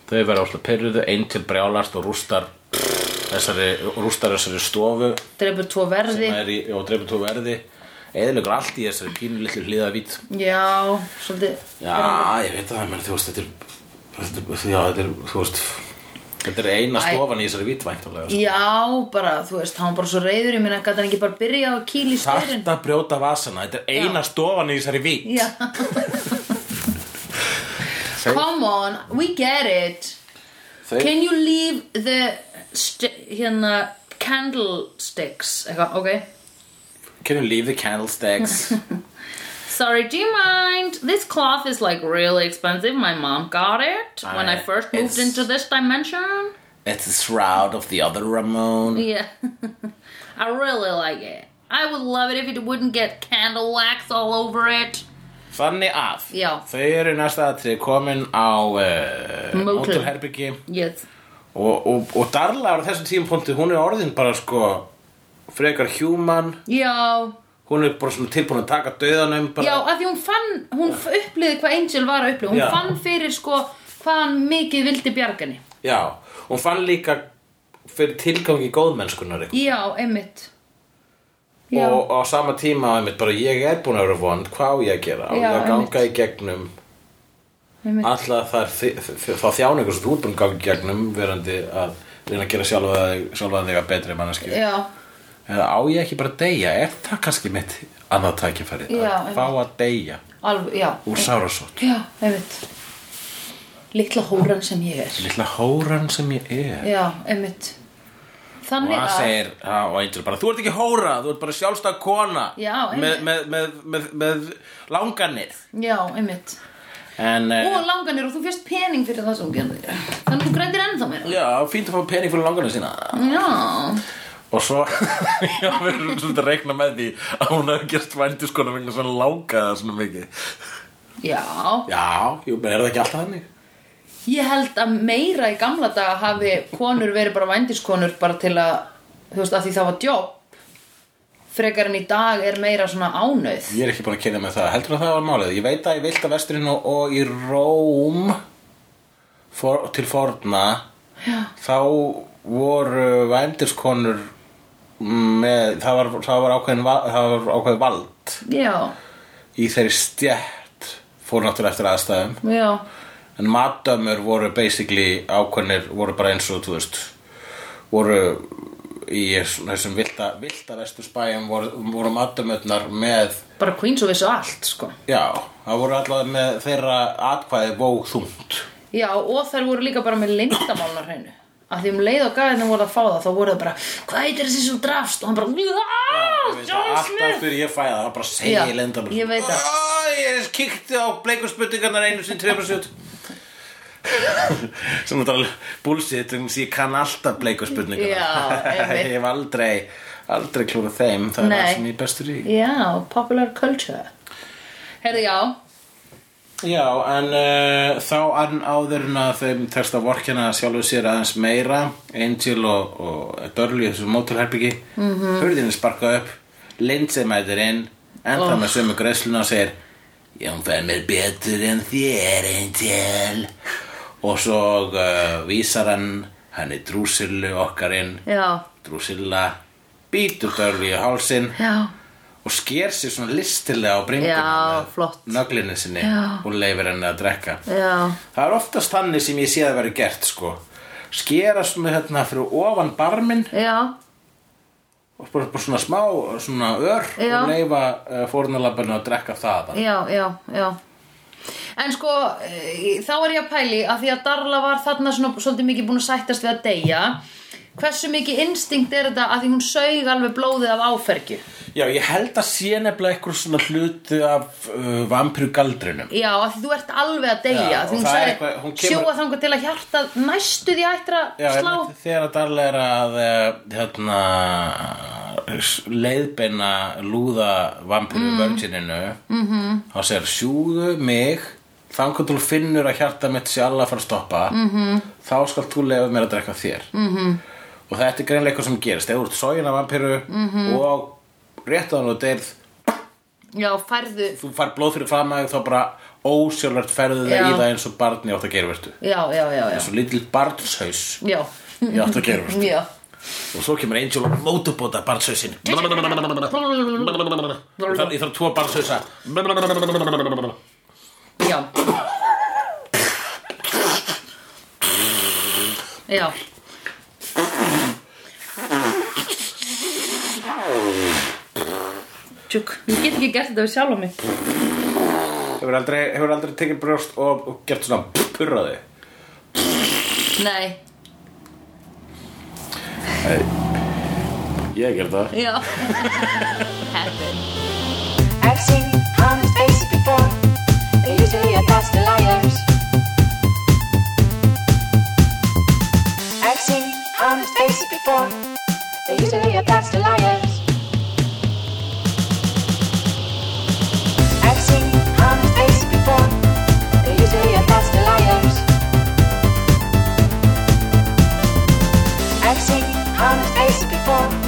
B: þau verða áslega pyrruðu einn til brjálast og rústar þessari, rústar þessari stofu
A: Drefur tvo verði,
B: sem er í, og dreifur tó verði eðilegur allt í þessari pínu litlu hliðavít
A: já, svolítið,
B: Já, ég veit það, menn þú veist, þetta er, þetta er, já, þetta er, þú veist Þetta er eina
A: Æ.
B: stofan í þessari vítvæntalega
A: já, bara, þú veist, hann var bara svo reyður í minna, gæti hann ekki bara byrja að kýla í styrin.
B: Þart að brjóta vasana, þetta er eina stofan í þessari vít *laughs*
A: Já Come on, we get it
B: Þau-
A: Can you leave the st- hérna candlesticks eitthvað, ok
B: Can you leave the
A: *laughs*
B: candlesticks?
A: Sorry, do you mind? This cloth is like really expensive. My mom got it when I
B: I-
A: first moved
B: Uh, it's-
A: into this dimension.
B: It's the shroud of the other Ramon
A: Yeah. *laughs* I really like it. I would love it if it wouldn't get candle wax all over it.
B: Þannig að
A: Já.
B: Þau eru í næsta atrið komin á uh,
A: Mótel.
B: Mótelherbyggi
A: Yes.
B: og, og, og Darla á þessum tímapunkti Hún er orðin bara sko Frekar human
A: Já,
B: Hún er bara svona tilbúin að taka döðanum
A: já,
B: bara,
A: að því hún fann, hún f- upplifði hvað Angel var að upplifa. Hún
B: Já.
A: fann fyrir sko hvað hann mikið vildi bjargani.
B: já Hún fann líka fyrir tilgangi góðmennskunar eitthvað.
A: Já, einmitt. Já,
B: Og á sama tíma einmitt, bara, Ég er búin að vera vond, hvað á ég að gera Á
A: Já,
B: ég að ganga
A: einmitt.
B: í gegnum
A: einmitt.
B: Alltaf þar, þi- þi- þá þjáningur sem þú er búin að ganga í gegnum verandi að reyna að gera sjálfa þig- sjálfa þig að betri manneski
A: Já,
B: eða á ég ekki bara að deyja er það kannski mitt annað tækifæri
A: Já,
B: að fá að deyja
A: alveg, já.
B: úr sárasótt
A: Já, einmitt. Litla hóran sem ég er.
B: lilla hóran sem ég er
A: Já, einmitt.
B: og
A: Þannig
B: hann
A: að...
B: segir á Angel bara þú ert ekki hóra, þú ert bara sjálfstæð kona
A: Já,
B: með,
A: einmitt.
B: með, með, með, með langanir
A: Já, einmitt.
B: en
A: Og
B: eh,
A: langanir og þú fyrst pening fyrir það sem hún gerði. Þannig að þú grætir ennþá meira.
B: já, fínt að fá pening fyrir langanir sína
A: Já.
B: og svo *laughs* já, við erum svolítið að reikna með því að hún hefur gerst vændiskona vegna svona langaða svona mikið
A: Já.
B: já, jú, er það ekki alltaf þannig?
A: Ég held að meira í gamla daga hafi konur verið bara vændiskonur bara til að, þú veist, að því það var djóp. Frekar en í dag er meira svona ánauð.
B: Ég er ekki búin að kynna með það, heldur að það var málið Ég veit að í Vilda Vesturinn og, og í Róm for, til forna Já. þá voru vændiskonur með, það var, það var ákveðin va- það var ákveðin vald
A: Já,
B: í þeirri stjætt fór náttúrulega eftir aðstæðum
A: já,
B: en matdömmur voru basically ákveðnir, voru bara eins og þú veist, voru í þessum vilda, vilda vestursbæjum voru, voru matdömmurnar með
A: bara queens og vissu allt, sko.
B: Já, það voru allavega með þeirra atkvæði vóþungt
A: Já, og þær voru líka bara með lindamálna hreinu. Að því um leið og gæðinu voru að fá það, þá voru það bara, hvað heitir þessi sem drafst? Og hann bara, aaaah, John
B: Alltaf
A: Smith!
B: fyrir ég fæða það, bara
A: Já,
B: segi ég lendar
A: ég veit það.
B: Ég kíkti á bleikurspurningarnar einu sinni 3% *laughs* Sem þetta er alveg bullshit vegna þess að Ég kann alltaf *laughs*
A: Já,
B: bleikurspurningarnar
A: einmitt.
B: Ég hef aldrei, aldrei klúra þeim Það er
A: Nei.
B: það sem ég er bestur í
A: Já, popular culture. Herði, já,
B: Já, en uh, þá ann áður en að þeim tekst að vorkina sjálfu sér aðeins meira Angel og, og Dörli í þessu mótilherbyggi mm
A: Mhm.
B: -hmm. Hurðin er sparkað upp Lindsay mætir inn En
A: Oh.
B: það með sömu greiðsluna og segir Ég fer mér betur en þér Angel Og svo uh, vísar hann henni drúsillu okkar inn
A: já,
B: Drúsilla býtur Dörli í hálsinn
A: já.
B: og sker sér svona listilega á bringuna
A: Já,
B: með
A: flott.
B: nöglinni sinni
A: Já.
B: og leifir henni að drekka
A: Já,
B: það er oftast þannig sem ég sé að vera gert sko. skera svona hérna fyrir ofan barminn
A: já,
B: og bara, bara svona smá svona ör
A: Já.
B: og leifa uh, fórnalabinu að drekka það
A: já, já, já. En sko, eh, þá er ég að pæli að því að Darla var þarna svona, svolítið mikið búin að sættast við að deyja Hversu mikið instinkt er þetta að því hún sög alveg blóðið af áfergju?
B: já, ég held að sé nefnilega eitthvað svona hluti af uh, vampiru galdrinum
A: Já, að því þú ert alveg að deyja
B: Já,
A: af Því
B: og
A: hún
B: það er
A: sagði
B: eitthvað- hún kemur-
A: sjóa þangar til að hjarta næstu því ættir að
B: Já,
A: slá
B: einmitt, þegar að Darla er að eh, hérna, leiðbeina lúða vampiru
A: Mm.
B: virgininu
A: Mhm.
B: -hmm. þá segir sjúðu mig þangar þú finnur að hjarta mitt sé alla að fara að stoppa
A: Mhm.
B: -hmm. þá skal þú leifa mér að drekka þér -hmm. og þetta er greinlega eitthvað sem gerist þegar þú ert sógin af vampiru
A: Mhm.
B: -hmm. og rétt á hann og deyrð
A: Já, færðu
B: þú fær blóð fyrir framæg þá bara ósjálfært ferðu þig
A: Já.
B: í það eins og barni átt að gera vertu
A: Já, já, já,
B: eins og lítil barnshaus
A: já Já,
B: í átt að gera vertu
A: já
B: Og svo kemur Angel og mótubóta barnsausin Ég þarf ég þarf tvo barnsausa
A: Já Já Tjúk, ég get ekki gert þetta við sjálf á mig
B: Hefur aldrei, hefur aldrei tekið brjóst og, og gert svona purraði
A: Nei,
B: Ég ger það
A: *laughs* já Happen
D: I've seen honest faces before. They usually are past the liars. I've seen on his face before.